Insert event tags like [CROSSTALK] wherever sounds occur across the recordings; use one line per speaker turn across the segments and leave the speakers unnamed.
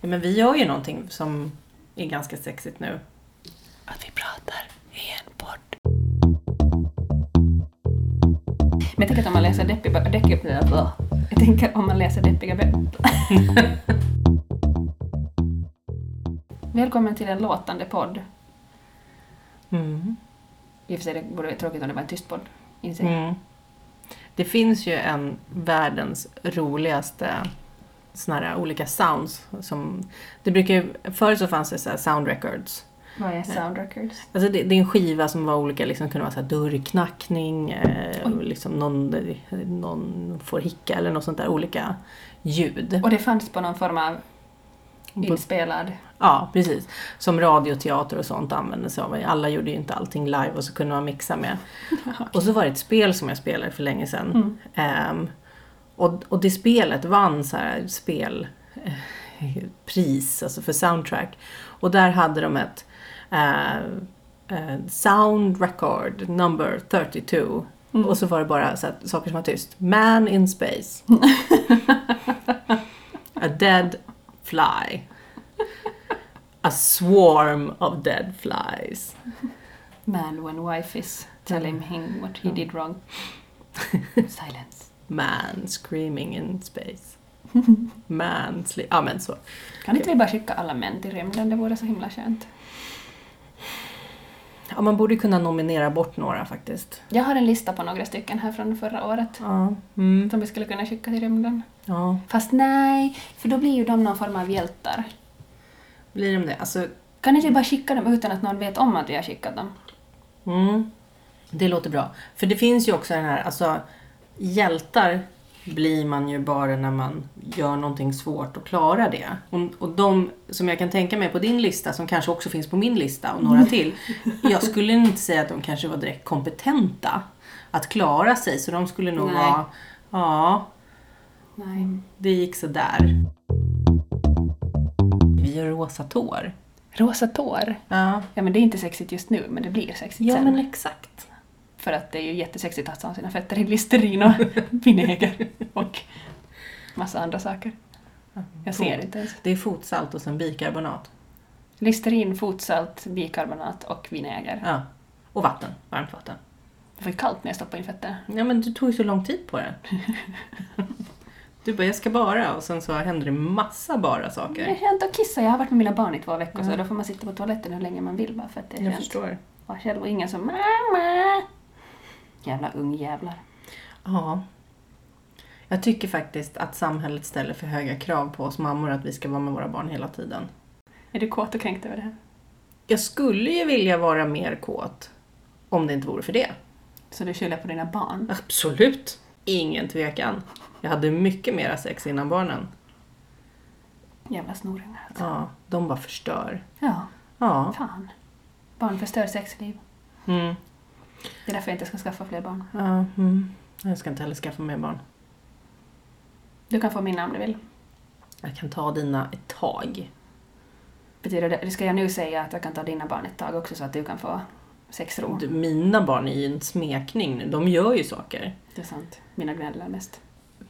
Nej, men vi gör ju någonting som är ganska sexigt nu. Att vi pratar i en podd.
Men jag tänker att om man läser deppiga böcker... Jag tänker om man läser deppiga böcker... [LAUGHS] Välkommen till en låtande podd.
Mm.
I och för sig, det vore tråkigt om det var en tyst podd. Inser jag.
Mm. Det finns ju en världens roligaste såna här olika sounds. Som, det brukar ju, förr så fanns det så här sound records.
Vad är Sound Records?
Alltså det, det är en skiva som var olika, liksom kunde vara så här dörrknackning, eh, liksom någon, någon får hicka eller något sånt där, olika ljud.
Och det fanns på någon form av inspelad...
Ja, precis. Som radioteater och sånt använde sig av. Alla gjorde ju inte allting live och så kunde man mixa med. Och så var det ett spel som jag spelade för länge sedan.
Mm.
Ehm, och, och det spelet vann så här spel eh, pris, alltså för soundtrack. Och där hade de ett eh, eh, sound record number 32.
Mm.
Och så var det bara så här, saker som var tyst. Man in space. A dead fly. A swarm of dead flies.
Man when wife is tell him him what he did [LAUGHS] wrong. Silence.
Man screaming in space. Man sleep... Ja men så.
Kan inte vi bara skicka alla män till rymden? Det vore så himla skönt.
Ja, man borde kunna nominera bort några faktiskt.
Jag har en lista på några stycken här från förra året
Ja. Mm.
som vi skulle kunna skicka till rymden.
ja.
Fast nej, för då blir ju de någon form av hjältar.
Blir de det? Alltså,
Kan inte vi bara skicka dem utan att någon vet om att vi har skickat dem?
mm. Det låter bra. För det finns ju också den här, alltså hjältar blir man ju bara när man gör någonting svårt och klarar det. Och, och de som jag kan tänka mig på din lista, som kanske också finns på min lista och några
[LAUGHS]
till. Jag skulle inte säga att de kanske var direkt kompetenta att klara sig, så de skulle nog
Nej.
vara, ja,
Nej.
det gick så där. Vi har rosa tår.
Rosa tår.
Ja,
Ja men det är inte sexigt just nu, men det blir sexigt
ja
sen.
men exakt.
För att det är ju jättesexigt att ha sina fötter i Listerin och [LAUGHS] vinäger och massa andra saker. Jag ser inte ens.
Det är fotsalt och sen bikarbonat.
Listerin, fotsalt, bikarbonat och vinäger.
Ja. Och vatten, varmt vatten.
Det var ju kallt när jag stoppade in fötterna.
Ja men du tog ju så lång tid på det. [LAUGHS] Du bara, jag ska bara och sen så händer det massa bara
Det är
saker.
skönt att kissa. Jag har varit med mina barn i två veckor så då får man sitta på toaletten hur länge man vill bara för att det är
Jag
skönt.
förstår.
Var själv och ingen som mamma. Jävla ungjävlar.
Ja. Jag tycker faktiskt att samhället ställer för höga krav på oss mammor att vi ska vara med våra barn hela tiden.
Är du kåt och kränkt över det här?
Jag skulle ju vilja vara mer kåt om det inte vore för det.
Så du skyller på dina barn?
Absolut! Ingen tvekan. Jag hade mycket mera sex innan barnen.
Jävla snorungar alltså.
Ja, de bara förstör.
Ja,
Ja.
fan. Barn förstör sexliv.
Mm.
Det är därför jag inte ska skaffa fler barn.
ja mm. Jag ska inte heller skaffa mer barn.
Du kan få mina om du vill.
Jag kan ta dina ett tag.
Betyder det, ska jag nu säga att jag kan ta dina barn ett tag också så att du kan få sexro?
Du, mina barn är ju en smekning nu. De gör ju saker.
Det är sant. Mina gnäller mest.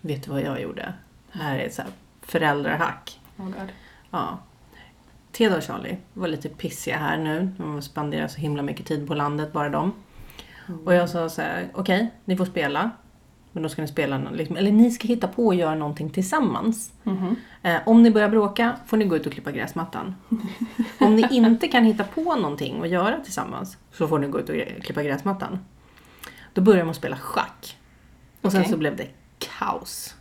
Vet du vad jag gjorde? Det här är så här föräldrahack.
Oh God.
Ja. Theodor och Charlie var lite pissiga här nu. De spenderar så himla mycket tid på landet, bara de. Och jag sa så här, okej, ni får spela. Men då ska ni spela, någon- liksom, eller ni ska hitta på och göra någonting tillsammans.
Mhm.
Eh, om ni börjar bråka får ni gå ut och klippa
[LAUGHS]
gräsmattan. om ni inte kan hitta på någonting att göra tillsammans så får ni gå ut och grä- klippa gräsmattan. Då började de att spela schack. Och sen
Okej.
så blev det kaos.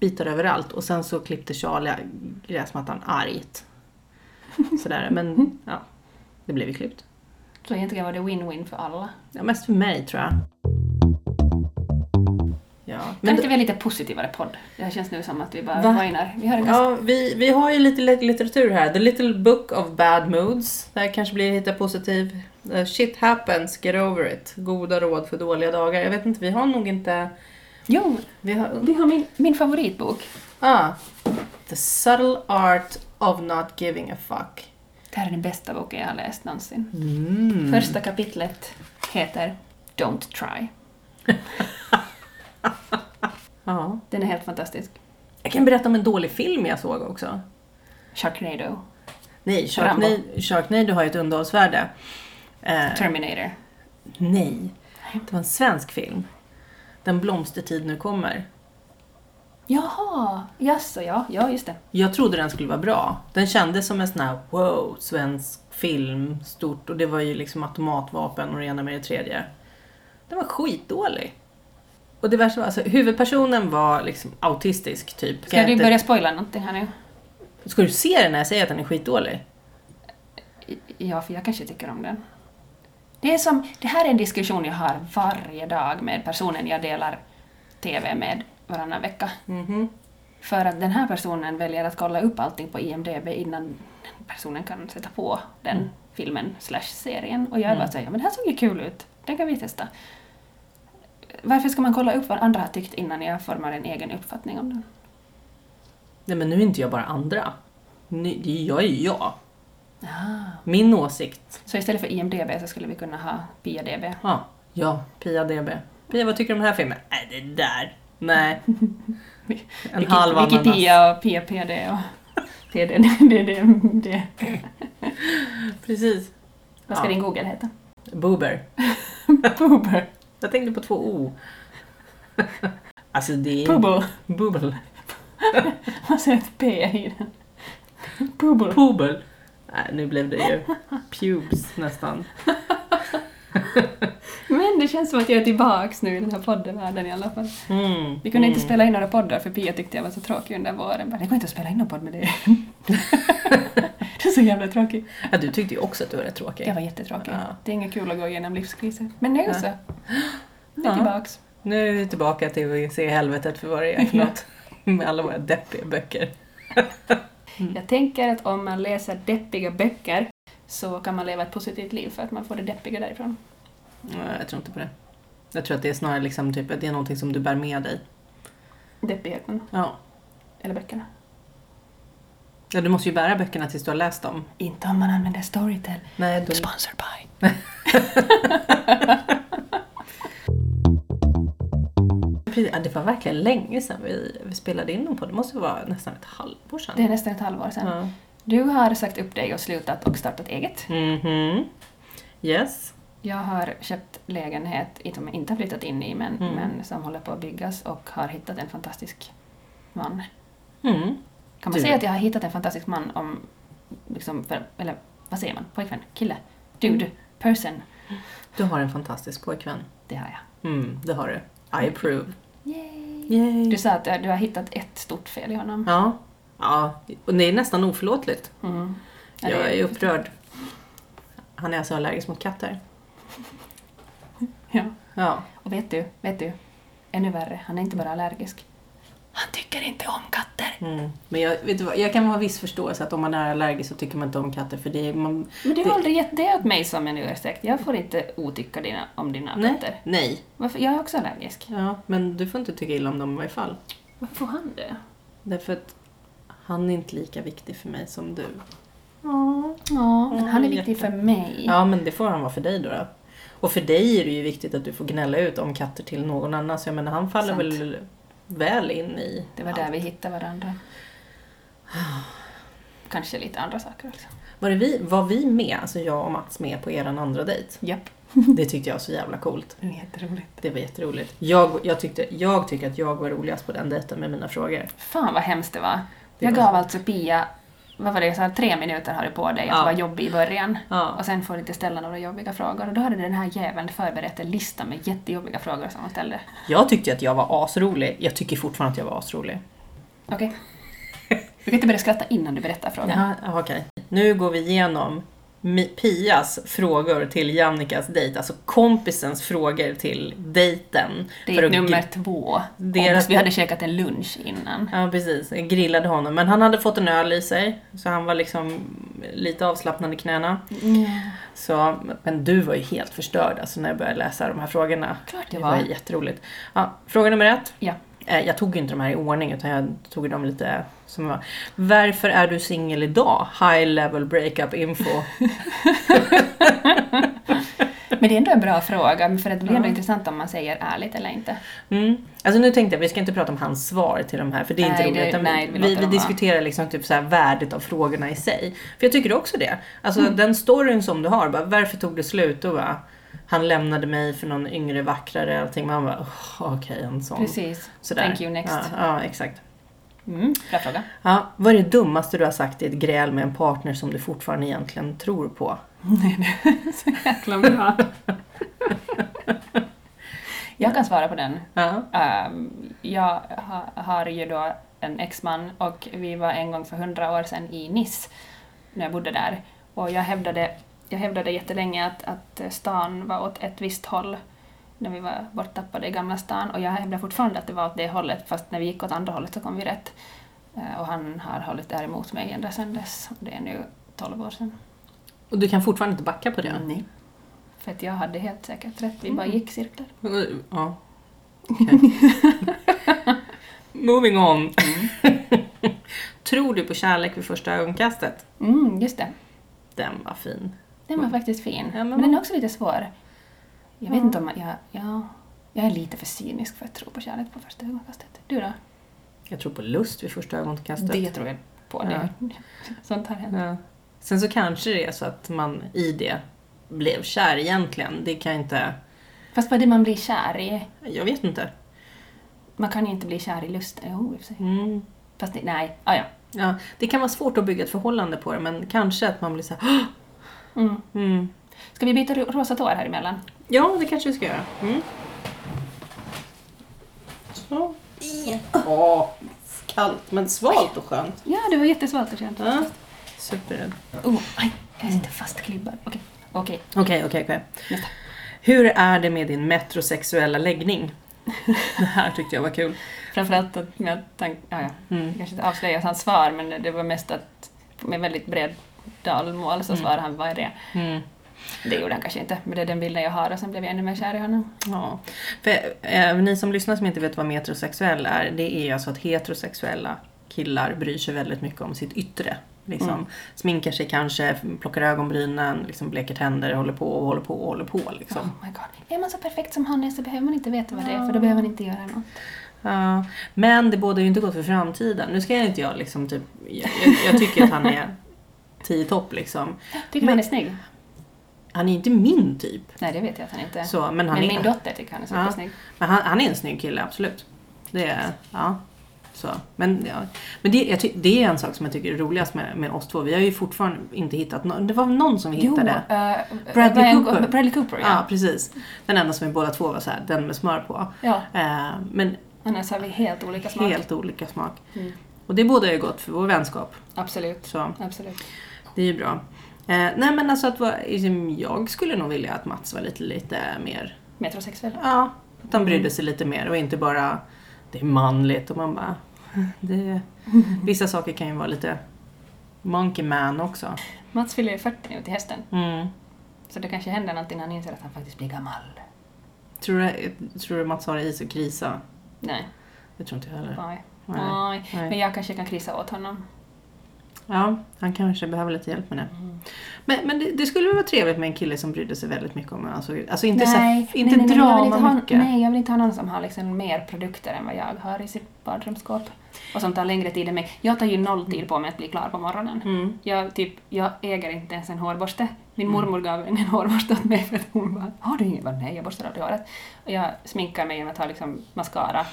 Bitar överallt och sen så klippte Charlie gräsmattan
[LAUGHS]
argt. Sådär, men ja. Det blev ju klippt.
Så egentligen var det win-win för alla.
Ja, mest för mig tror jag. Ja,
kan
men
inte vi ha lite positivare podd? Det här känns nu som att vi bara
Va?
whinar. Vi har en ganska...
Ja, vi, vi har ju lite lit- litteratur här. The Little Book of Bad Moods. Det här kanske blir lite positiv. Eh, Shit happens, get over it. Goda råd för dåliga dagar. Jag vet inte, vi har nog inte...
Jo,
Vi har...
vi har min, min favoritbok.
Ah. The subtle art of not giving a fuck.
Det här är den bästa boken jag har läst någonsin.
Mm.
Första kapitlet heter Don't try.
Ja.
Den är helt fantastisk.
Jag kan berätta om en dålig film jag såg också.
Sharknado,
Nej, Sharknado, Sharknado har ju ett underhållsvärde. Eh,
Terminator.
nej, det var en svensk film. Den blomstertid nu kommer.
Jaha, jaså ja, ja just det.
Jag trodde den skulle vara bra. Den kändes som en sån här wow, svensk film, stort och det var ju liksom automatvapen och det ena med det tredje. Den var skitdålig. Och det värsta var, alltså huvudpersonen var liksom autistisk typ.
Ska du
inte-
börja spoila någonting här nu?
Ska du se den när jag säger att den är skitdålig?
Ja, för jag kanske tycker om den. Det, är som, det här är en diskussion jag har varje dag med personen jag delar TV med varannan vecka.
Mhm.
För att den här personen väljer att kolla upp allting på IMDB innan personen kan sätta på den filmen slash serien. Och jag bara säger men det här såg ju kul ut, den kan vi testa. Varför ska man kolla upp vad andra har tyckt innan jag formar en egen uppfattning om den?
Nej men nu är inte jag bara andra. Nu, det är- jag är ju jag.
Ah.
Min åsikt.
Så istället för IMDB så skulle vi kunna ha PiaDB.
Ja, ja. Pia DB. Pia, vad tycker du om den här filmen? Nej, det där.
[LAUGHS]
Nej. En
Wiki-
halv ananas.
Wikipedia och PPD och PDD.
Precis.
Vad ska
Ja.
din Google heta?
Boober.
Puber.
Jag tänkte på två O. alltså det är...
Pubble.
Bubbel.
Man säger ett P i den. Pubble.
Pubel. Nej, nu blev det ju pubes nästan.
Men det känns som att jag är tillbaks nu i den här poddenvärlden i alla fall.
Mm.
Vi kunde
mm.
inte spela in några poddar för Pia tyckte jag var så tråkig under våren. Bara, Det går inte att spela in någon podd
[LAUGHS]
med det. du är så jävla tråkig.
Ja, du tyckte ju också att du var rätt tråkig.
Jag var jättetråkig.
Ja.
Det är inget kul att gå igenom livskriser. Men nu
Ja.
så. Nu är
Ja.
tillbaks.
Nu är vi tillbaka till att se helvetet för vad det är för något. Med alla våra deppiga böcker.
Jag tänker att om man läser deppiga böcker så kan man leva ett positivt liv för att man får det deppiga därifrån.
Nej, jag tror inte på det. Jag tror att det är snarare liksom typ, att det är någonting som du bär med dig.
Deppigheten,
Ja.
eller böckerna.
ja du måste ju bära böckerna tills du har läst dem.
Inte om man använder Storytel.
Nej, då...
Sponsored by.
Precis, ja, det var verkligen länge sedan vi, vi spelade in dem på. Det måste vara nästan ett halvår sedan.
Det är nästan ett halvår sedan.
Ja.
Du har sagt upp dig och slutat och startat eget.
Mhm. Yes.
Jag har köpt lägenhet som jag inte har flyttat in i men,
Mm.
men som håller på att byggas och har hittat en fantastisk man.
Mm.
Kan man
Du.
säga att jag har hittat en fantastisk man om, liksom, för, eller vad säger man, pojkvän, kille, dude, person.
Du har en fantastisk pojkvän.
Det har jag.
Mm, det har du. I approve.
Yay!
Yay.
Du sa att du har hittat ett stort fel i honom.
Ja. Ja, och det är nästan oförlåtligt.
Mm. Ja, det
Jag
är-
är upprörd. Han är alltså allergisk mot katter.
Ja.
Ja.
Och vet du, vet du, ännu värre, han är inte bara allergisk. Han tycker inte om katter.
Mm. Men jag, vet du vad, jag kan ha viss förståelse att om man är allergisk så tycker man inte om katter för det är man...
Men du har
Det-
aldrig gett det åt mig som en ursäkt. Jag får inte otycka dina, om dina katter.
Nej. Nej.
Varför? Jag är också allergisk.
Ja, men du får inte tycka illa om dem i varje fall.
Varför får han det?
Därför att han är inte lika viktig för mig som du.
Ja, men
Ja,
han är viktig för
jätte-
mig.
Ja, men det får han vara för dig då. då. Och för dig är det ju viktigt att du får gnälla ut om katter till någon annan. Så jag menar, han faller
Sant.
väl väl in i...
Det var där vi hittade varandra. Kanske lite andra saker också.
Var, det vi, var vi med, alltså jag och Mats, med på eran andra dejt?
[LAUGHS] Japp.
Det tyckte jag var så jävla coolt.
Det är jätteroligt.
Det var jätteroligt. Jag, jag, tyckte, jag tycker att jag var roligast på den dejten med mina frågor.
Fan vad hemskt det var.
Det
jag
var-
gav alltså Pia, vad var det jag sa, tre minuter har du på dig att
Ja.
vara jobbig i början.
Ja.
Och sen får du inte ställa några jobbiga frågor. Och då hade den här jäveln förberett en lista med jättejobbiga frågor som hon ställde.
Jag tyckte att jag var asrolig. Jag tycker fortfarande att jag var asrolig.
Okej? Du kan inte börja skratta innan du berättar frågan.
Ja, okej. Nu går vi igenom Mi- Pias frågor till Jannikas dejt, alltså kompisens frågor till dejten.
Det
För
är
att
nummer
gr-
två.
Deras-
Och vi hade käkat en lunch innan.
Ja, precis. Jag grillade honom. Men han hade fått en öl i sig, så han var liksom lite avslappnad i knäna. Så, men du var ju helt förstörd alltså, när jag började läsa de här frågorna.
Klart det
Det
var.
var jätteroligt. Ja, fråga nummer ett.
Ja.
Eh, Jag tog ju inte de här i ordning utan jag tog ju dem lite som var. Varför är du singel idag? High level breakup info.
Men det är ändå en bra fråga, för det blir ändå intressant om man säger ärligt eller inte.
Mm. Alltså nu tänkte jag, vi ska inte prata om hans svar till de här, för det är
Nej,
inte
det-
roligt. utan
nej, vi
vi
låter
vi,
dem vara.
diskuterar liksom typ så här värdet av frågorna i sig. För jag tycker också det. Alltså
Mm.
den storyn som du har, bara, varför tog det slut? Och bara, han lämnade mig för någon yngre, vackrare, allting. Man bara, oh, okej, en sån.
Precis.
Sådär.
Thank you, next.
Ja, ja exakt.
Mm, bra fråga.
Ja, vad är det dummaste du har sagt i ett gräl med en partner som du fortfarande egentligen tror på?
[LAUGHS] Så jäkla bra. Jag kan svara på den.
Ja.
Ehm, jag ha, har ju då en exman och vi var en gång för hundra år sedan i Nice när jag bodde där. Och jag hävdade, jag hävdade jättelänge att, att stan var åt ett visst håll när vi var borttappade i Gamla stan och jag hävdar fortfarande att det var åt det hållet fast när vi gick åt andra hållet så kom vi rätt. Eh, Och han har hållit där emot mig ända sedan dess. Det är nu 12 år sedan.
Och du kan fortfarande inte backa på det?
Nej. För att jag hade helt säkert rätt, vi bara gick cirklar.
Ja. Okej. Moving on. Tror du på kärlek vid första ögonkastet?
Mm, just det.
Den var fin.
Den var faktiskt fin.
Ja, men-
Mm. men, den är också lite svår. Jag vet inte om jag... Jag, jag är lite för cynisk för att tro på kärlek på första ögonkastet. Du då?
Jag tror på lust vid första ögonkastet.
Det tror jag på nu. [LAUGHS] Sånt har hänt.
Ja. Sen så kanske det är så att man i det blev kär egentligen. Det kan jag inte...
Fast vad är det man blir kär i?
Jag vet inte.
Man kan ju inte bli kär i lust. Jo, i och för sig.
Mm.
Fast det, nej, ah, ja.
Ja, det kan vara svårt att bygga ett förhållande på det, men kanske att man blir så här... [GASPS] "Åh!"
Mm.
Mm.
Ska vi byta ro- rosa tår här emellan?
Ja, det kanske vi ska göra. Mm. Så. Åh, kallt men svalt och skönt.
Ja, det var jättesvalt och skönt.
Ja. Superrädd.
Oh, aj, jag sitter fastklibbad. Okej, okej.
Okej, okej, okej.
Nästa.
Hur är det med din metrosexuella [LAUGHS] läggning? Det här tyckte jag var kul.
Framförallt att jag tank... ja, ja.
Mm.
Jag kanske inte avslöjar hans svar, men det var mest att med väldigt bred dalmål så svarade han vad är det?
Mm.
Det gjorde han kanske inte, men det är den bilden jag har och sen blev jag ännu mer kär i honom.
Ja. För, eh, ni som lyssnar som inte vet vad metrosexuell är, det är alltså att heterosexuella killar bryr sig väldigt mycket om sitt yttre. Liksom.
Mm.
Sminkar sig kanske, plockar ögonbrynen, liksom bleker tänder, håller på och håller på och håller på. Liksom.
Oh my god. Är man så perfekt som han är så behöver man inte veta vad det är, för då behöver man inte göra något.
Ja, men det bådar ju inte gott för framtiden. Nu ska jag inte jag liksom typ, jag, jag, jag tycker att han är [LAUGHS] tio topp liksom.
Tycker du han är snygg?
Han är inte min typ.
Nej, det vet jag att han inte är.
Så, men han
Men
är,
min dotter tycker han är
Ja.
supersnygg.
men han, han är en snygg kille, absolut. Det är, ja. Så. Men, ja. men det, jag ty, det är en sak som jag tycker är roligast med, med oss två. Vi har ju fortfarande inte hittat någon. Det var någon som vi hittade.
Jo, eh,
Bradley
Ryan-
Cooper.
Bradley Cooper,
Ja.
ja.
precis. Den enda som vi båda två var så här, den med smör på.
ja.
Eh, men
Annars har vi helt olika smak.
helt olika smak.
Mm.
Och det bådar ju gott för vår vänskap.
Absolut.
Så.
Absolut.
Det är ju bra. Eh, nej men alltså att vara, liksom, jag skulle nog vilja att Mats var lite, lite mer,
Metrosexuell.
ja, att han brydde sig lite mer och inte bara det är manligt och man bara,
[LAUGHS]
det, vissa saker kan ju vara lite monkey man också.
Mats fyller ju 40 nu till hösten.
Mm.
Så det kanske händer någonting när han inser att han faktiskt blir gammal.
Tror, du, tror du Mats har det i sig att krisa?
Nej,
Det tror inte jag heller.
nej.
Nej.
nej.
Nej.
Men jag kanske kan krisa åt honom.
Ja, han kanske behöver lite hjälp med det.
Mm.
Men, men det, det skulle väl vara trevligt med en kille som brydde sig väldigt mycket om alltså, alltså inte, så här, inte
jag vill
drama
inte ha,
mycket.
Nej, jag vill inte ha någon som har liksom mer produkter än vad jag har i sitt badrumsskåp. Och som tar längre tid än mig. Jag tar ju noll tid på mig att bli klar på morgonen.
Mm.
Jag, typ, jag äger inte ens en hårborste. Min mormor gav en hårborste åt mig för att hon bara ”Har du ingen?” Jag bara, Nej, jag borstar aldrig håret. Och jag sminkar mig genom att ha liksom mascara,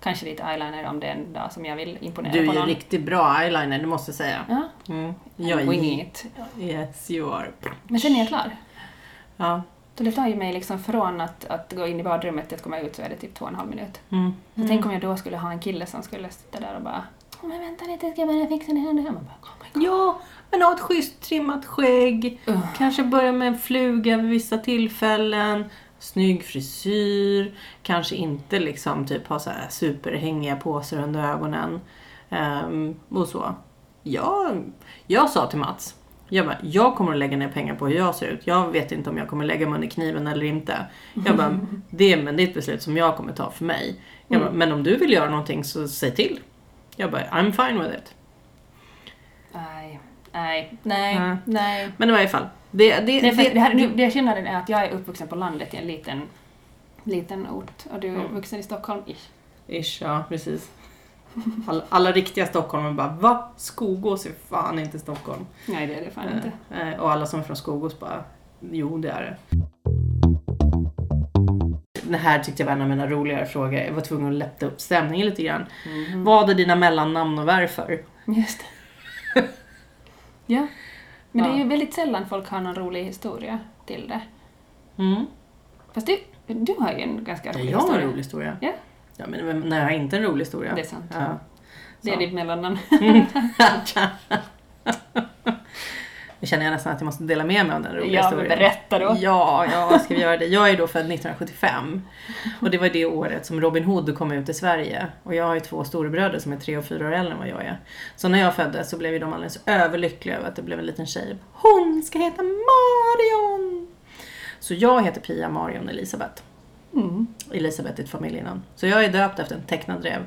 kanske lite eyeliner om det är en dag som jag vill imponera
Du
på
är ju
någon.
riktigt bra eyeliner, det måste jag säga.
Ja,
Mm. Jag är
wing it.
Yes you are.
Men sen är jag klar.
Ja.
Så det tar ju mig liksom från att, att gå in i badrummet till att komma ut så är det typ två och en halv minut.
Mm.
Så tänk om jag då skulle ha en kille som skulle sitta där och bara "Åh, men vänta lite, ska jag börja fixa det här nu? Man bara, oh my God.
Ja, men ha ett schysst trimmat skägg.
Ugh.
Kanske börja med en fluga vid vissa tillfällen. Snygg frisyr. Kanske inte liksom typ ha så här superhängiga påsar under ögonen. Ehm, och så. Jag, jag sa till Mats, jag, bara, jag kommer att lägga ner pengar på hur jag ser ut. Jag vet inte om jag kommer lägga mig under kniven eller inte. Jag bara, det, är- men det är ett beslut som jag kommer ta för mig. Jag bara, men om du vill göra någonting så säg till. Jag bara, I'm fine with it.
Nej, nej, nej,
Nej.
nej.
Men i varje fall, Det, Mm. det,
Nej, för
det,
det, här, nu, det skillnaden är att jag är uppvuxen på landet i en liten, liten ort och du är
Mm.
vuxen i Stockholm. Ish.
Ish, ja precis. Alla, alla riktiga stockholmare bara va? Skogås är fan inte Stockholm.
Nej, det är det fan inte.
Eh, eh, och alla som är från Skogås bara jo det är det. Det här tyckte jag var en av mina roligare frågor. Jag var tvungen att lätta upp stämningen lite
Mm.
grann. Vad är dina mellannamn och varför?
Just
[LAUGHS]
det. ja. Men det är
Ja.
ju väldigt sällan folk har någon rolig historia till det.
Mm.
Fast du, du har ju en ganska rolig
Jag har
historia.
en rolig historia.
Ja.
Ja, men vem- nej, jag har inte en rolig historia.
Det är sant.
Ja.
Det är ditt mellannamn.
Nu känner jag nästan att jag måste dela med mig av den roliga
Ja, men
historien.
berätta då.
Ja, ja, ska vi göra det? Jag är då född 1975 och det var det året som Robin Hood kom ut i Sverige. Och jag har ju två storebröder som är tre och fyra år äldre än vad jag är. Så när jag föddes så blev ju de alldeles överlyckliga över att det blev en liten tjej. Hon ska heta Marion! Så jag heter Pia Marion Elisabeth.
Mm.
Elisabeth är ett familjenamn. Så jag är döpt efter en tecknad räv.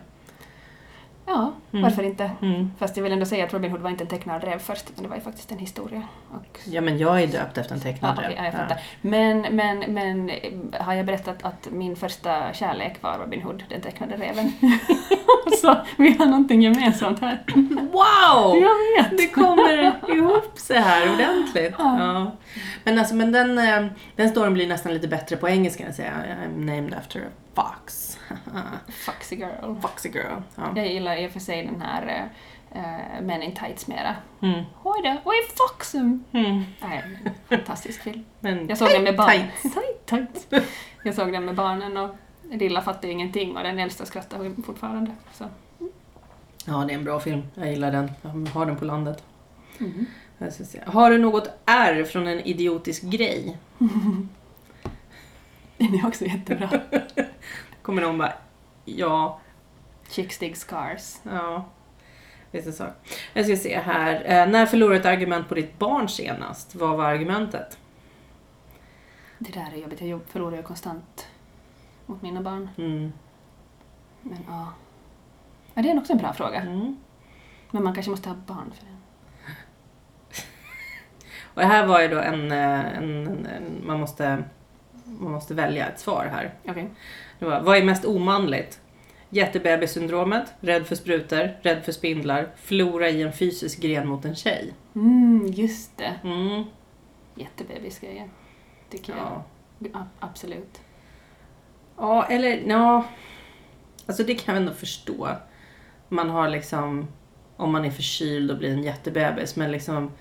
Ja, varför inte?
Mm.
Fast jag vill ändå säga att Robin Hood var inte en tecknad räv först, utan det var ju faktiskt en historia. Och...
Ja men jag är döpt efter en
Ja,
tecknad
okej,
räv.
ja, jag fattar. Men, men, men eh, har jag berättat att min första kärlek var Robin Hood, den tecknade räven? [LAUGHS] Så vi har någonting gemensamt här.
Wow!
Jag vet!
Det kommer ihop sig här ordentligt.
Ja.
Ja. Men, alltså, men den, eh, den storyn blir nästan lite bättre på engelska kan jag säga. I'm named after a fox. [LAUGHS]
Foxy girl.
Foxy girl. Ja.
Jag gillar i och för sig den här uh, Men in Tights mera.
Mm.
Oj då, vad är foxen?
Mm.
Nej, men fantastisk film.
Men,
Jag såg den med barnen.
Tights.
Tight, tight. Jag såg den med barnen och Lilla fattade ingenting och den äldsta skrattade fortfarande. Så.
[LAUGHS] Ja, det är en bra film. Jag gillar den. Jag har den på landet.
Mm.
Jag ska se. Har du något R från en idiotisk grej?
Den är också jättebra.
[LAUGHS] Kommer någon bara, ja,
Chicks dig scars.
Ja, visst är så. Jag ska se här. Eh, när förlorade ett argument på ditt barn senast? Vad var argumentet?
Det där är jobbigt, jag jobb- förlorar ju konstant mot mina barn.
Mm.
Men ja. ja. Det är också en bra fråga.
Mm.
Men man kanske måste ha barn för den.
Och det här var ju då en, eh, en, en, en man, måste, man måste välja ett svar här.
Okej.
Det var, vad är mest omanligt? Jättebebissyndromet, rädd för sprutor, rädd för spindlar, förlora i en fysisk gren mot en tjej.
Mm, just det.
Mm.
Jättebebisgrejer. Tycker jag.
Ja.
A- absolut.
Ja, eller ja. Alltså det kan jag ändå förstå. Man har liksom, om man är förkyld och blir en jättebebis, men liksom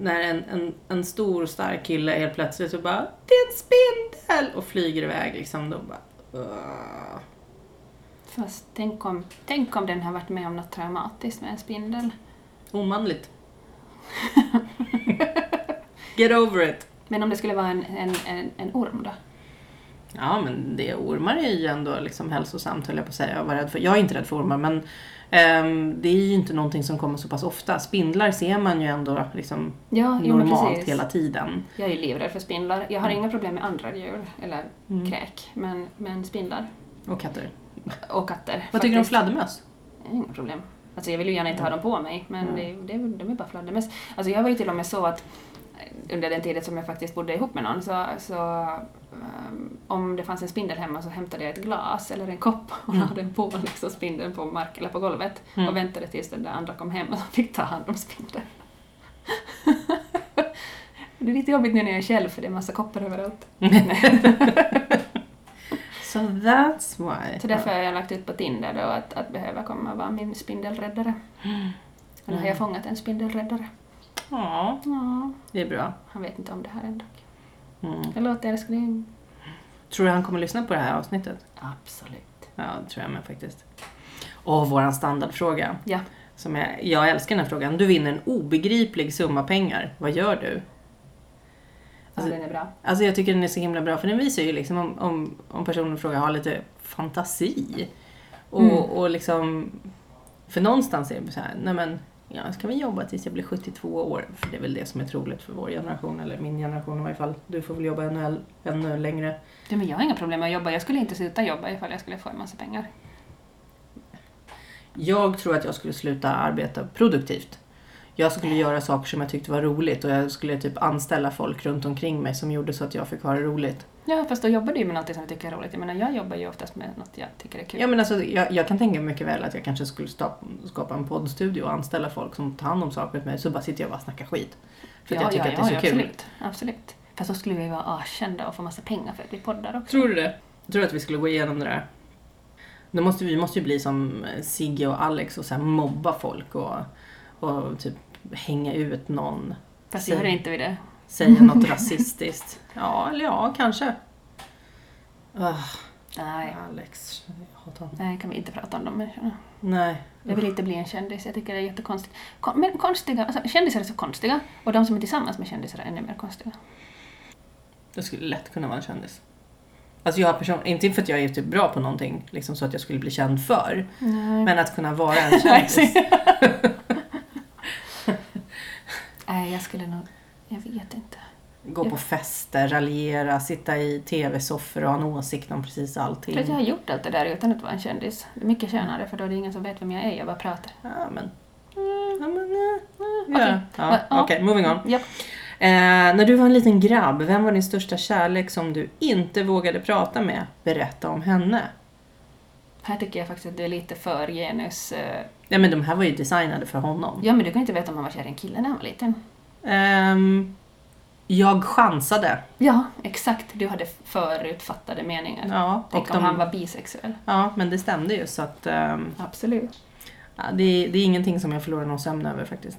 när en, en, en stor stark kille helt plötsligt så bara Det är en spindel! Och flyger iväg liksom. Då bara, "Åh."
Fast tänk om, tänk om den har varit med om något traumatiskt med en spindel.
omanligt. Get over it!
Men om det skulle vara en, en, en, en orm då?
Ja men det, ormar är ju ändå liksom hälsosamt höll jag på att säga. Jag, var rädd för, jag är inte rädd för ormar men ehm, det är ju inte någonting som kommer så pass ofta. Spindlar ser man ju ändå liksom
Ja, jo, men
normalt
precis.
hela tiden.
Jag är ju livrädd för spindlar. Jag har
Mm.
inga problem med andra djur, eller kräk, men, men spindlar.
Och katter.
Och katter.
Vad tycker du om Mm. fladdermöss?
Jag har Inga problem. Alltså jag vill ju gärna inte ha dem på mig, men
Mm.
det, det, de är bara fladdermöss. Alltså jag var ju till och med så att eh, under den tiden som jag faktiskt bodde ihop med någon så, så ehm, om det fanns en spindel hemma så hämtade jag ett glas eller en kopp och
Mm.
la den på liksom spindeln på marken eller på golvet och väntade tills den där andra kom hem och fick ta hand om spindeln. [LAUGHS] det är lite jobbigt nu när jag är själv för det är massa koppar överallt.
[LAUGHS] So that's why.
Så därför har jag lagt ut på Tinder då att, att behöva komma och vara min spindelräddare. Och nu har jag fångat en spindelräddare.
Ja,
Mm. Ja,
det är bra.
han vet inte om det här än dock.
Mm.
Jag låter älskling.
Tror du han kommer lyssna på det här avsnittet?
Absolut.
Ja, det tror jag med faktiskt. Och våran standardfråga.
Ja.
Som jag, jag älskar den här frågan. Du vinner en obegriplig summa pengar. Vad gör du?
Ja,
Alltså-
den är bra.
Alltså jag tycker den är så himla bra för den visar ju liksom om, om, om personen i fråga har lite fantasi. Och, och liksom, för någonstans är det så här, nej men, ja, ska vi jobba tills jag blir 72 år? För det är väl det som är troligt för vår generation, eller min generation i varje fall. Du får väl jobba ännu, ännu längre.
Ja, men jag har inga problem med att jobba. Jag skulle inte sluta jobba ifall jag skulle få en massa pengar.
Jag tror att jag skulle sluta arbeta produktivt. Jag skulle göra saker som jag tyckte var roligt och jag skulle typ anställa folk runt omkring mig som gjorde så att jag fick ha det roligt.
Ja, fast då jobbar du ju med något som du tycker är roligt. Jag menar, jag jobbar ju oftast med något jag tycker är kul.
Ja, men alltså, jag, jag kan tänka mig mycket väl att jag kanske skulle sta- skapa en poddstudio och anställa folk som tar hand om saker åt mig så bara sitter jag och bara snackar skit. För att jag tycker att det är så kul.
Absolut, absolut. Fast då skulle vi vara askända och få massa pengar för att vi poddar också.
Tror du det? Jag tror att vi skulle gå igenom det där. Då måste, vi vi måste ju bli som eh, Sigge och Alex och så här mobba folk och, och typ hänga ut någon.
Fast gör inte vi det. [LAUGHS]
Säga något rasistiskt. Ja, eller ja, kanske. Ah,
Nej,
Alex. Jag hatar honom.
nej kan vi inte prata om de människorna.
Nej.
Jag vill inte bli en kändis, jag tycker det är jättekonstigt. Kon- Men konstiga, alltså, kändisar är så konstiga och de som är tillsammans med kändisar är ännu mer konstiga.
Jag skulle lätt kunna vara en kändis. Alltså jag har person... Inte för att jag är typ bra på någonting liksom så att jag skulle bli känd för.
Mm. [LAUGHS]
[LAUGHS]
Nej.
Men att kunna vara en kändis.
nej, jag skulle nog... Jag vet inte.
Gå på fester, raljera, sitta i tv-soffor och ha en åsikt om precis allting.
Jag tror att jag har gjort allt det där utan att vara en kändis. Det är mycket tjänare för då är det ingen som vet vem jag är, jag bara pratar.
Ja, men... Ja, men... eh, Ja,
Mm. okej.
ja. Ja,
Ja.
Okej, moving on.
Japp.
Eh, när du var en liten grabb, vem var din största kärlek som du inte vågade prata med? Berätta om henne.
Här tycker jag faktiskt att du är lite för genus... eh,
Nej men de här var ju designade för honom.
Ja men du kan ju inte veta om han var kär i en kille när han var liten.
Ehm, jag chansade.
Ja, exakt. Du hade förutfattade meningar.
Ja, och
Tänk om
de-
han var bisexuell.
Ja, men det stämde ju så att ehm,
Absolut.
ja, det, det är ingenting som jag förlorar någon sömn över faktiskt.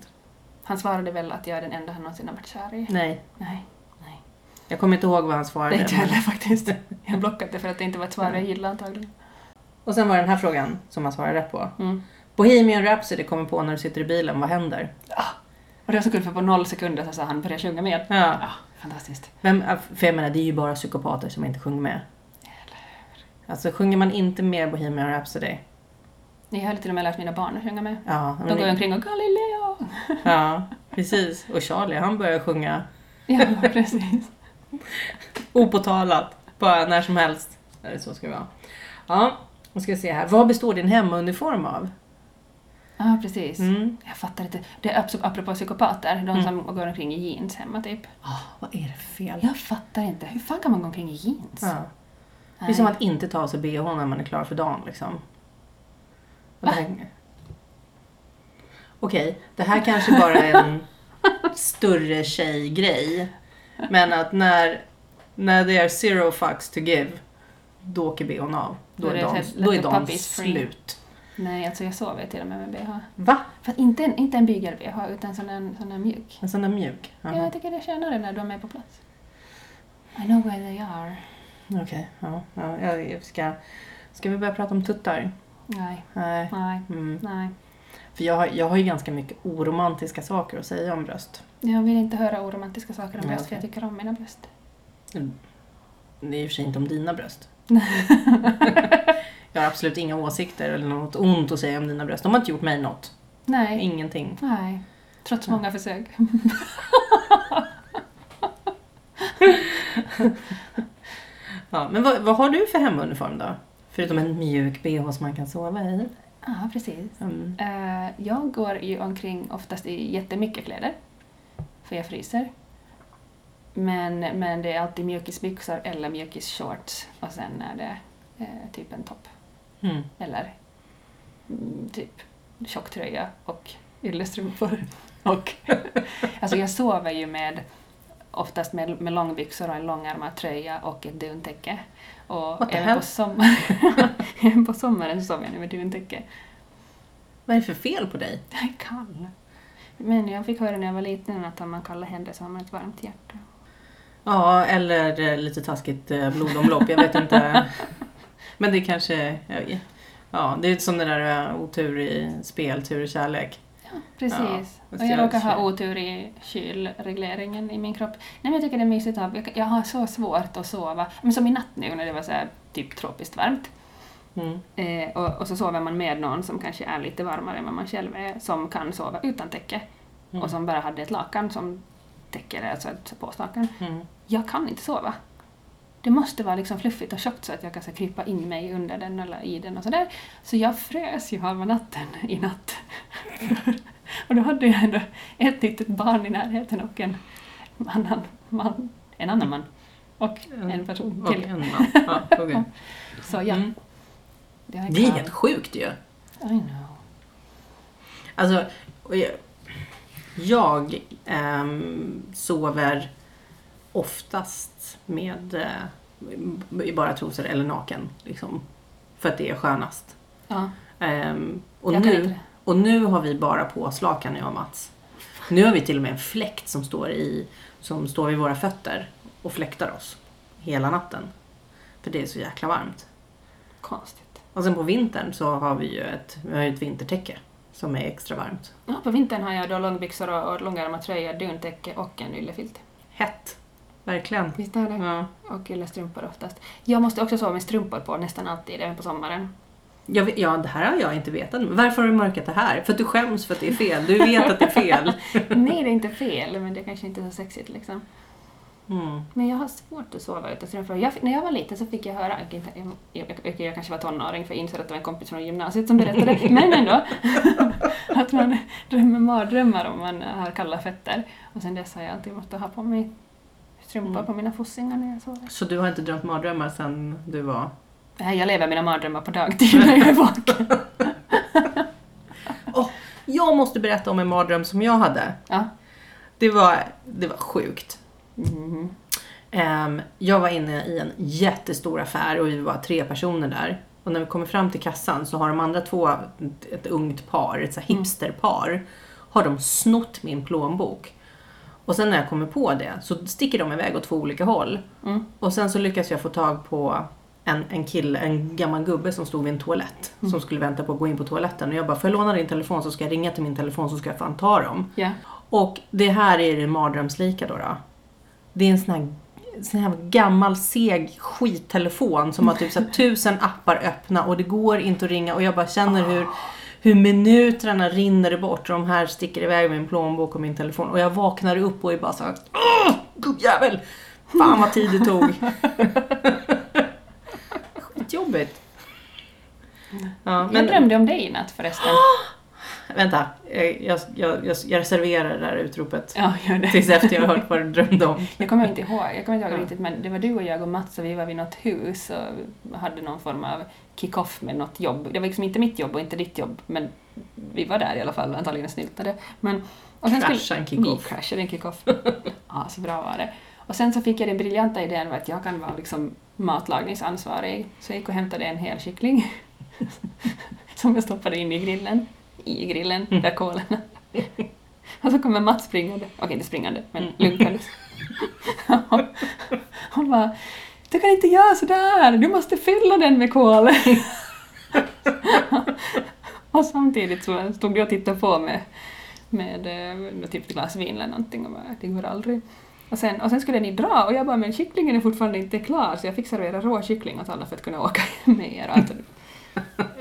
Han svarade väl att jag är den enda han någonsin har varit kär i.
Nej,
Nej, nej.
jag kommer inte ihåg vad han
Det
svarade.
är inte
men-
heller faktiskt. Jag har blockat det för att det inte var ett svar jag gillade antagligen.
Och sen var det den här frågan som han svarade rätt på.
Mm.
Bohemian Rhapsody kommer på när du sitter i bilen, vad händer?
Ah. Och det var så kul för på noll sekunder så sa han börja sjunga med.
Ja.
Ja, fantastiskt.
Vem, för jag menar, det är ju bara psykopater som inte sjunger med. Alltså sjunger man inte med Bohemian Rhapsody.
Jag har till och med lärt mina barn att sjunga med.
Ja,
De
men,
går ju omkring och Galileo!
[LAUGHS] ja, precis. Och Charlie, han börjar sjunga
Ja, [LAUGHS] precis.
opåtalat. Bara när som helst. Eller så ska det vara. Ja, nu ska vi se här. Vad består din hemmauniform av?
Ja, precis.
Mm.
Jag fattar inte. Det är abs- apropå psykopater, de som går omkring i jeans hemma typ.
Ah, vad är det för fel?
Jag fattar inte. Hur fan kan man gå omkring i jeans?
Ja. Det är
Nej.
som att inte ta av sig bhn när man är klar för dagen liksom. Och det här- Okej, det här kanske bara är en [LAUGHS] större tjejgrej. Men att när, när det är zero fucks to give, då åker bhn av. Då är typ dagen, då är dagen
Puppies free.
slut.
Nej, alltså jag sover till och med med bh.
Va?
Fast inte en, inte en bygel-bh, utan sån en, sån en mjuk.
En sån där mjuk?
Ja,
Jaha.
jag tycker det är skönare när de är på plats. I know where they are.
Okej, ja, ja, jag- jag ska... Ska vi börja prata om tuttar?
Nej,
Nej.
nej,
Mm.
nej.
För jag har, jag har ju ganska mycket oromantiska saker att säga om bröst.
Jag vill inte höra oromantiska saker om
Nej,
bröst, för jag
okej.
tycker om mina bröst.
Det är i och för sig inte om dina
[LAUGHS]
bröst. jag har absolut inga åsikter eller något ont att säga om dina bröst. De har inte gjort mig något.
Nej,
Ingenting.
nej. Trots många försök.
Ja, men vad, vad har du för hemmauniform då? Förutom en mjuk bh som man kan sova i.
Ja, precis.
Mm.
Eh, jag går ju omkring oftast i jättemycket kläder, för jag fryser. Men, men det är alltid mjukisbyxor eller mjukisshorts och sen är det eh, typ en topp
Mm.
eller mm, typ tjocktröja och yllestrumpor. [LAUGHS] Och, alltså jag sover ju med oftast med, med långbyxor och en långärmad tröja och ett duntäcke.
What
Och
the
även
hell?
på, sommar, även [LAUGHS] på sommaren så sover jag nu med duntäcke.
Vad är det för fel på dig?
Jag är kall. Men jag fick höra när jag var liten att om man kallar händer så har man ett varmt hjärta.
Ja, eller eh, lite taskigt eh, blodomlopp. Jag vet
[LAUGHS]
inte. Men det kanske... ja, Ja, det är som det där eh, otur i spel, tur i kärlek.
Precis.
Ja,
och jag råkar ha
precis.
otur i kylregleringen i min kropp. Nej men jag tycker det är mysigt att jag, jag har så svårt att sova. Men som i natt nu när det var så här, typ tropiskt varmt.
Mm.
Eh, och, och så sover man med någon som kanske är lite varmare än vad man själv är, som kan sova utan täcke.
Mm.
Och som bara hade ett lakan som täcker det, alltså ett påslakan.
Mm.
jag kan inte sova. Det måste vara liksom fluffigt och tjockt så att jag kan så här krypa in mig under den eller i den [LAUGHS] och sådär. Så jag frös ju halva natten i natt. och Och då hade jag ändå ett litet barn i närheten och en annan man. En annan man. Och en person
Mm. Och
till.
en man. Ja, okej.
Så ja.
Mm.
Jag
Det är
klar.
helt sjukt ju.
I know.
Alltså, och jag, jag ehm, sover oftast med eh, i bara trosor eller naken. Liksom, för att det är skönast.
Ja,
Ehm, och,
jag kan inte
nu,
det.
och nu har vi bara påslakan jag och Mats. Nu har vi till och med en fläkt som står, i, som står vid våra fötter och fläktar oss hela natten. För det är så jäkla varmt.
Konstigt.
Och sen på vintern så har vi ju ett, vi har ju ett vintertäcke som är extra varmt.
Ja, på vintern har jag då långbyxor och, och långärmad tröja, duntäcke och en yllefilt.
Hett. Verkligen.
Visst är det?
Ja.
Och yllestrumpor oftast. Jag måste också sova med strumpor på nästan alltid, även på sommaren.
Jag vet, ja, det här har jag inte vetat. Varför har du mörkat det här? För att du skäms för att det är fel. Du vet att det är fel.
Nej, det är inte fel, men det kanske inte är så sexigt liksom.
Mm.
Men jag har svårt att sova utan strumpor. Jag, fick- när jag var liten så fick jag höra, jag, inte- jag, jag, jag, jag kanske var tonåring för jag insåg att det var en kompis från gymnasiet som berättade, men ändå, att man drömmer mardrömmar om man har kalla fötter. Och sen dess har jag alltid måste ha på mig strumpor
Mm.
på mina fossingar när jag sover.
Så du har inte drömt mardrömmar sedan du var...
Nej, jag lever mina mardrömmar på dagtid när jag är vaken.
Jag måste berätta om en mardröm som jag hade.
Ja.
Det var, det var sjukt.
Mhm.
Ehm, jag var inne i en jättestor affär och vi var tre personer där. Och när vi kommer fram till kassan så har de andra två, ett- ett ungt par, ett så här hipsterpar, har de snott min plånbok. Och sen när jag kommer på det så sticker de iväg åt två olika håll.
Mm.
Och sen så lyckas jag få tag på en, en kille, en gammal gubbe som stod vid en toalett. Som skulle vänta på att gå in på toaletten. Och jag bara, får jag låna din telefon så ska jag ringa till min telefon så ska jag fan ta dem.
Ja.
Och det här är det mardrömslika då. då. Det är en sån här, sån här gammal seg skittelefon som har typ så här tusen appar öppna och det går inte att ringa och jag bara känner hur, hur minuterna rinner bort och de här sticker iväg med min plånbok och min telefon och jag vaknar upp och är bara såhär Åh! Gubbjävel! Fan vad tid det tog! Skitjobbigt! Ja,
Jag drömde om dig i natt förresten.
Vänta, jag, jag, jag, jag reserverar det där utropet
Ja, gör det.
tills efter jag har hört vad du drömde om.
Jag kommer inte ihåg, jag kommer inte ihåg
Ja.
riktigt men det var du och jag och Mats och vi var vid något hus och hade någon form av kick-off med något jobb. Det var liksom inte mitt jobb och inte ditt jobb men vi var där i alla fall, antagligen snyltade. Men, och sen skulle-
Crasha en kick-off.
Vi crashade en kick-off. ja, så bra var det. Och sen så fick jag den briljanta idén med att jag kan vara liksom matlagningsansvarig så jag gick och hämtade en hel kyckling [LAUGHS] som jag stoppade in i grillen, i grillen, där kolen och så kommer Mats springande, okej inte springande, men lunkandes. Hon bara ”Du kan inte göra sådär, du måste fylla den med kol”. och samtidigt så stod jag och tittade på med, med, eh, med typ ett glas vin eller någonting och bara, det går aldrig. Och sen, och sen skulle ni dra och jag bara, men kycklingen är fortfarande inte klar så jag fick servera rå kyckling åt alla för att kunna åka [LAUGHS] med er. Alltså,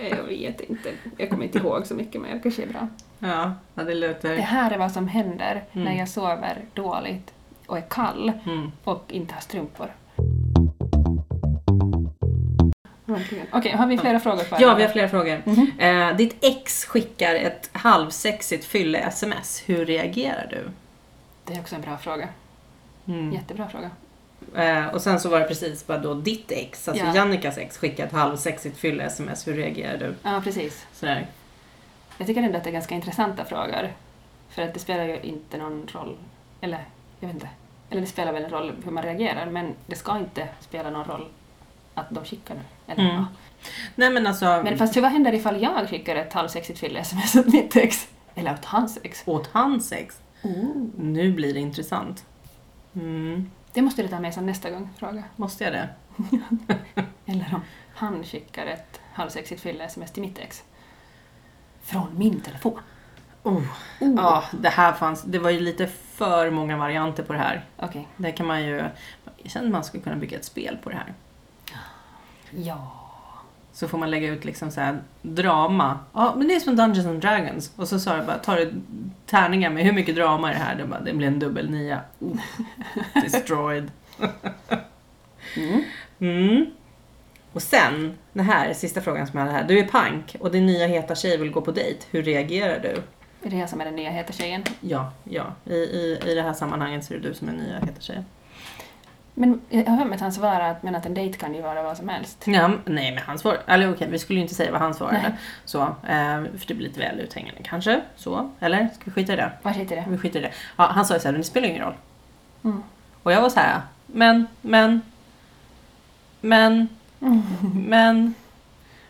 Eh, jag vet inte, jag kommer inte ihåg så mycket men det kanske är bra.
Ja, ja, det
Det
låter...
här är vad som händer
Mm.
när jag sover dåligt och är kall
Mm.
och inte har strumpor. Verkligen. Okej, har vi flera frågor kvar?
Ja, vi har flera frågor.
Mhm.
Eh, ditt ex skickar ett halvsexigt fylle-sms. Hur reagerar du?
Det är också en bra fråga.
Mm.
Jättebra fråga.
Eh, och sen så var det precis bara då ditt ex, alltså
Ja.
Jannikas ex, skickar ett halvsexigt fylle-sms. Hur reagerar du?
Ja, precis.
Sådär.
Jag tycker ändå att det är ganska intressanta frågor. För att det spelar ju inte någon roll. Eller, jag vet inte. Eller det spelar väl en roll hur man reagerar, men det ska inte spela någon roll att de skickar det. Eller,
Mm.
ja.
Nej men alltså...
Men fast hur, vad händer ifall jag skickar ett halvsexigt fylle-sms åt mitt ex? Eller åt hans ex?
Åt hans ex? Oh.
Ooh.
Nu blir det intressant. Mm.
Det måste du ta med som nästa gång, fråga.
Måste jag det?
Eller om han skickar ett halvsexigt fylle-sms till mitt ex. Från min telefon.
Oh.
Oh.
Ja, det här fanns... Det var ju lite för många varianter på det här.
Okej.
Det kan man ju... Jag känner att man skulle kunna bygga ett spel på det här.
Ja.
Så får man lägga ut liksom så här drama. Ja, men det är som Dungeons and Dragons. Och så sa jag bara, tar du tärningar med hur mycket drama är det här? Det, bara, det blir en dubbel nia. Oh, destroyed.
Mm.
Mm. Och sen, det här är sista frågan som jag hade här. Du är pank och din nya heta tjej vill gå på dejt. Hur reagerar du?
Är det jag som är den nya heta tjejen?
Ja, ja. I, i, i det här sammanhanget så är det du som är nya heter tjejen.
Men jag har för mig att han svarar att, men att en dejt kan ju vara vad som helst.
Ja, m- nej men han svarade, eller okej vi skulle ju inte säga vad han svarade.
Nej.
Så, eh, för det blir lite väl uthängande kanske. Så, eller? Ska vi skita i det?
Vad heter det?
Vi skiter i det. Ja, han sa ju såhär, det spelar ingen roll.
Mm.
Och jag var så här, men, men,
[LAUGHS]
men, men.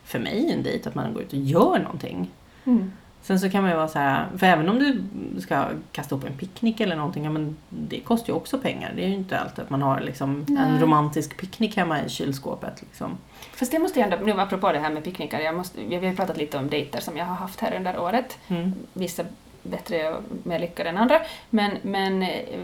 För mig är en dejt att man går ut och gör någonting.
Mm.
Sen så kan man ju vara så här, för även om du ska kasta upp en picknick eller någonting, ja men det kostar ju också pengar. Det är ju inte alltid att man har liksom en
Nej.
romantisk picknick hemma i kylskåpet. Liksom.
Fast det måste jag ändå, nu apropå det här med picknickar, jag måste, vi har ju pratat lite om dejter som jag har haft här under året.
Mm.
vissa bättre och mer lyckade än andra. Men, men eh,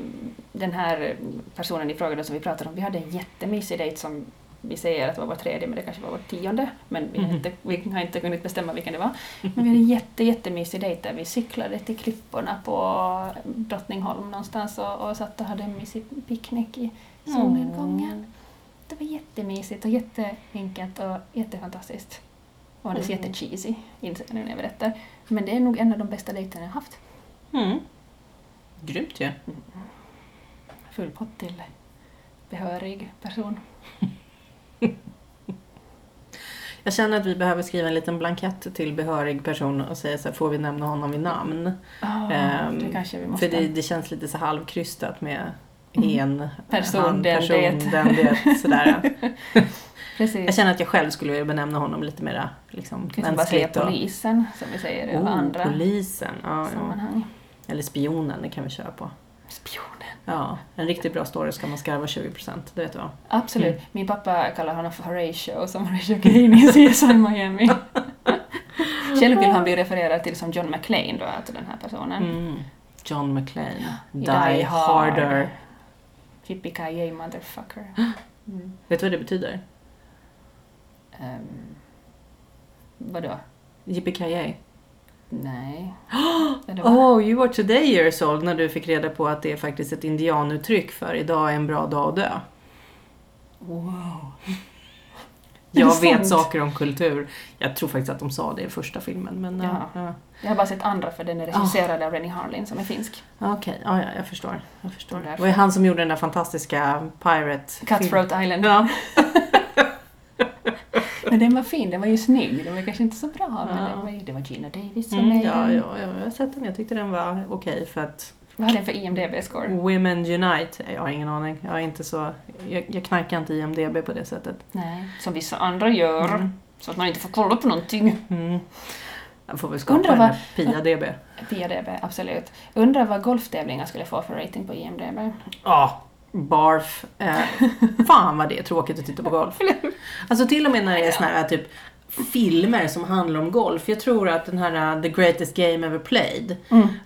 den här personen i fråga då som vi pratade om, vi hade en jättemysig dejt som vi säger att det var vår tredje, men det kanske var vår tionde. Men vi, har
Mhm.
inte, vi har inte kunnat bestämma vilken det var. Men vi hade en jätte, jättemysig dejt där vi cyklade till klipporna på Drottningholm någonstans och, och satt och hade en mysig picknick i solnedgången. Det var jättemysigt och jätteenkelt och jättefantastiskt. Och det är
Mm.
jättecheesy, inser jag nu när jag berättar. Men det är nog en av de bästa dejterna jag haft.
Mm. Grymt ju. Ja.
Full pott till behörig person.
Jag känner att vi behöver skriva en liten blankett till behörig person och säga så här, får vi nämna honom vid namn? Ehm,
det kanske vi måste. Mm.
För det, det känns lite så halvkrystat med hen,
Person,
han,
den,
person,
det.
den,
[LAUGHS]
det. Sådär. [LAUGHS] Jag
Precis.
känner att jag själv skulle vilja benämna honom lite mer liksom,
Vi kan bara säga
mänskligt. och-
polisen, som vi säger i alla
Oh,
andra
polisen. Ja, ja.
sammanhang.
Eller spionen, det kan vi köra på.
Spionen.
Ja, en riktigt bra story ska man skarva 20%, det vet du va?
Absolut.
Mm.
Min pappa kallar honom för Horatio, som Horatio Green i
[LAUGHS]
CSI Miami. Själv vill han bli refererad till som John McClane då, alltså den här personen.
Mm. John McClane,
I
Die,
Die Hard.
Harder.
Yippee-ki-yay motherfucker.
[GASPS]
Mm.
Vet du vad det betyder?
Um, vadå?
Yippee [GASPS]
Nej. Eller vad?
Oh, you were today years old när du fick reda på att det är faktiskt ett indianuttryck för idag är en bra dag att dö.
Wow. Är
Jag
det
vet
sant?
saker om kultur. Jag tror faktiskt att de sa det i första filmen, men... eh, Ja. Ja.
Jag har bara sett andra för den är
Ah.
regisserad av Rennie Harlin som är finsk.
Okej, ja, ja, jag förstår. Jag förstår.
Därför.
Det var ju han som gjorde den där fantastiska pirate...
Cutthroat Island.
Ja.
[LAUGHS] Men den var fin, den var ju snygg. Den var kanske inte så bra, men
Ja.
den var, ju- det var Gina Davis som
Mm,
är
ja,
den.
ja, ja, jag har sett den. Jag tyckte den var okej för att
Vad har den för IMDB-score?
Women Unite, jag har ingen aning. Jag är inte så... Jag, jag knarkar inte IMDB på det sättet.
Nej. Som vissa andra gör.
Mm.
Så att man inte får kolla på någonting.
Mm. Jag får väl skapa
Undrar
den här Pia-DB.
IMDB, absolut. Undrar vad golftävlingar skulle få för rating på IMDB.
Ja, barf. Eh, fan vad det är tråkigt att titta på golf. Alltså till och med när det är såna här typ filmer som handlar om golf. Jag tror att den här eh, The Greatest Game Ever Played,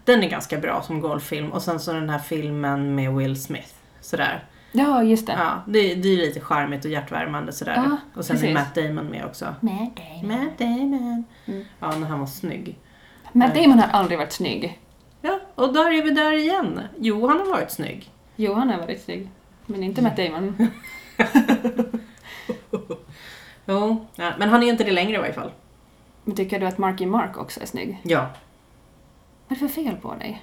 den är ganska bra som golffilm. Och sen så den här filmen med Will Smith. Sådär.
Ja, just det.
Ja, det, det är lite charmigt och hjärtvärmande sådär.
Ja,
och sen är
precis.
Matt Damon med också.
Matt Damon.
Matt Damon.
Mm.
Ja, när han var snygg.
Matt Damon har aldrig varit snygg.
Ja, och där är vi där igen. Jo, han har varit snygg.
Johan har varit snygg, men inte
[LAUGHS]
Matt Damon.
Jo, ja, men han är inte det längre i varje fall.
Men tycker du att Marky Mark också är snygg?
Ja,
Vad är det för fel på dig?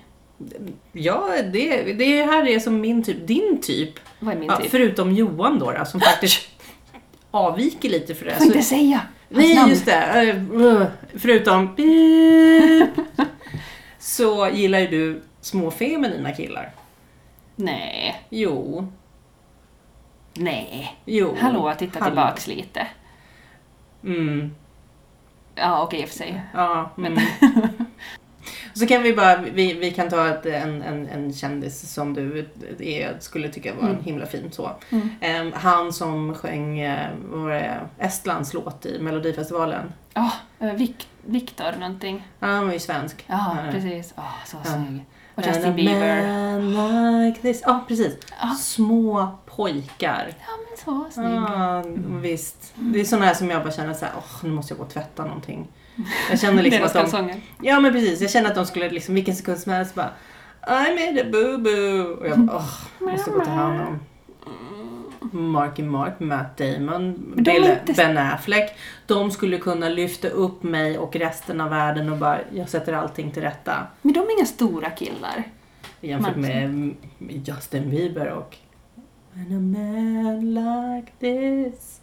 Ja, det, det här är som min typ, din typ.
Vad är min
Ja,
typ?
förutom Johan då, då som
[LAUGHS]
faktiskt avviker lite för det.
Får
Så,
inte säga hans
nej,
namn!
just det. Eh, uh, Förutom
[LAUGHS]
beep, så gillar ju du små feminina killar.
Nej,
Jo,
nej.
jo.
Hallå, titta
Hallå.
tillbaks lite.
Mm,
Ja, okej i och för sig.
ja,
Men-
men. [LAUGHS] Så kan vi bara, vi, vi kan ta ett, en, en, en kändis som du är, skulle tycka var
Mm.
en himla fin så.
Mm.
Ehm, han som sjöng eh, vad var det, Estlands låt i Melodifestivalen.
Ja, eh, Vic- Victor någonting.
Han var ju svensk.
Ja,
Ja.
precis. Ah, så
Ja.
snygg. Och
And a
Justin Bieber.
Man like this. Ja, precis.
Ja.
Små pojkar.
Ja, men så snygg.
Ja,
Mm.
visst. Det är sådana här som jag bara känner såhär, åh, nu måste jag gå och tvätta någonting. Jag
[LAUGHS]
känner liksom
Deras
att de...
kalsonger.
Ja, men precis. Jag känner att de skulle liksom vilken sekund som helst bara, I made a boo-boo. Och jag bara, åh, måste gå och ta hand om.
Mm.
Marky Mark, Matt Damon,
Men de är
Bill,
inte-
Ben Affleck. De skulle kunna lyfta upp mig och resten av världen och bara, jag sätter allting till rätta.
Men de är inga stora killar.
Jämfört
Martin.
med mm, Justin Bieber och When a man like this.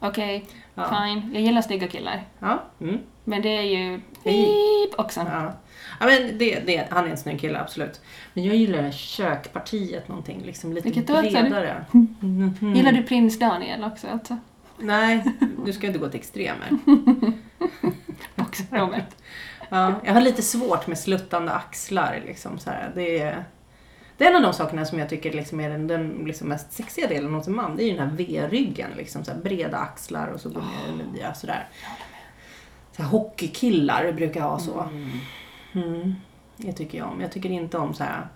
Okej,
Ja.
fine. Jag gillar snygga killar.
Ja. Mm.
Men det är ju
Hej.
beep också.
Ja. ja men det, det, han är en snygg kille, absolut. Men jag gillar det här kökpartiet någonting, liksom lite
Vilket då, sa du? [LAUGHS]
bredare. Mhm.
Gillar du prins Daniel också? Alltså?
Nej, nu ska jag inte gå till extremer.
[LAUGHS] Också Robert.
Ja, jag har lite svårt med sluttande axlar. Liksom, så här. Det, är, det är en av de sakerna som jag tycker liksom är den, den liksom mest sexiga delen hos en man. Det är ju den här V-ryggen. Liksom, så här, breda axlar och så går ner i midja. Sådär. Så här, hockeykillar brukar ha så. Mm. Det tycker jag om. Jag tycker inte om så här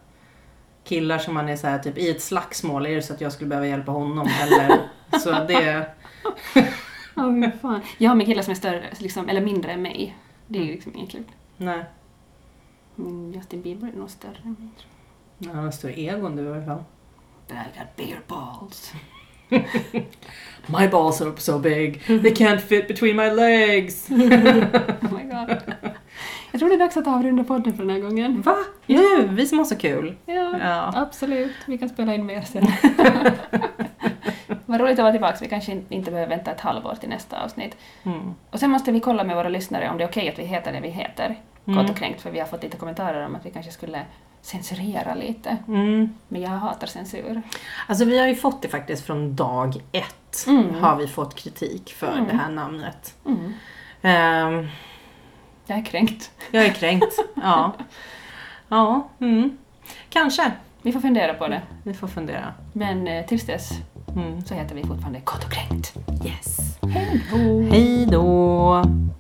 killar som man är så här, typ i ett slagsmål. Är det så att jag skulle behöva hjälpa honom heller? så det...
Oh, hur fan. Jag har med killar som är större, liksom, eller mindre än mig. Det är ju liksom inget kul.
Nej.
Min Justin Bieber är nog större än mig. tror
Annars står Egon du i alla fall.
jag. But I got bigger balls.
My balls are so big, they can't fit between my legs.
[LAUGHS] Oh my god. Jag tror det är dags att avrunda podden för den här gången.
Va? Nu? Vi som har så kul.
Mm. Ja,
Ja.
absolut. Vi kan spela in mer [LAUGHS] sen. Vad roligt att vara tillbaka. Vi kanske inte behöver vänta ett halvår till nästa avsnitt.
Mm.
Och sen måste vi kolla med våra lyssnare om det är okej att vi heter det vi heter.
Mm.
Kort och kränkt, för vi har fått lite kommentarer om att vi kanske skulle censurera lite.
Mm.
Men jag hatar censur.
Alltså vi har ju fått det faktiskt från dag ett.
Mm.
Har vi fått kritik för
Mm.
det här namnet.
Mm.
Ehm,
Jag är kränkt.
jag är kränkt. ja. Ja. Mm. Kanske.
Vi får fundera på det.
Vi får fundera.
Men eh, tills dess
Mm.
så heter vi fortfarande Kort och kränkt.
Yes.
Hej då!
Hej då!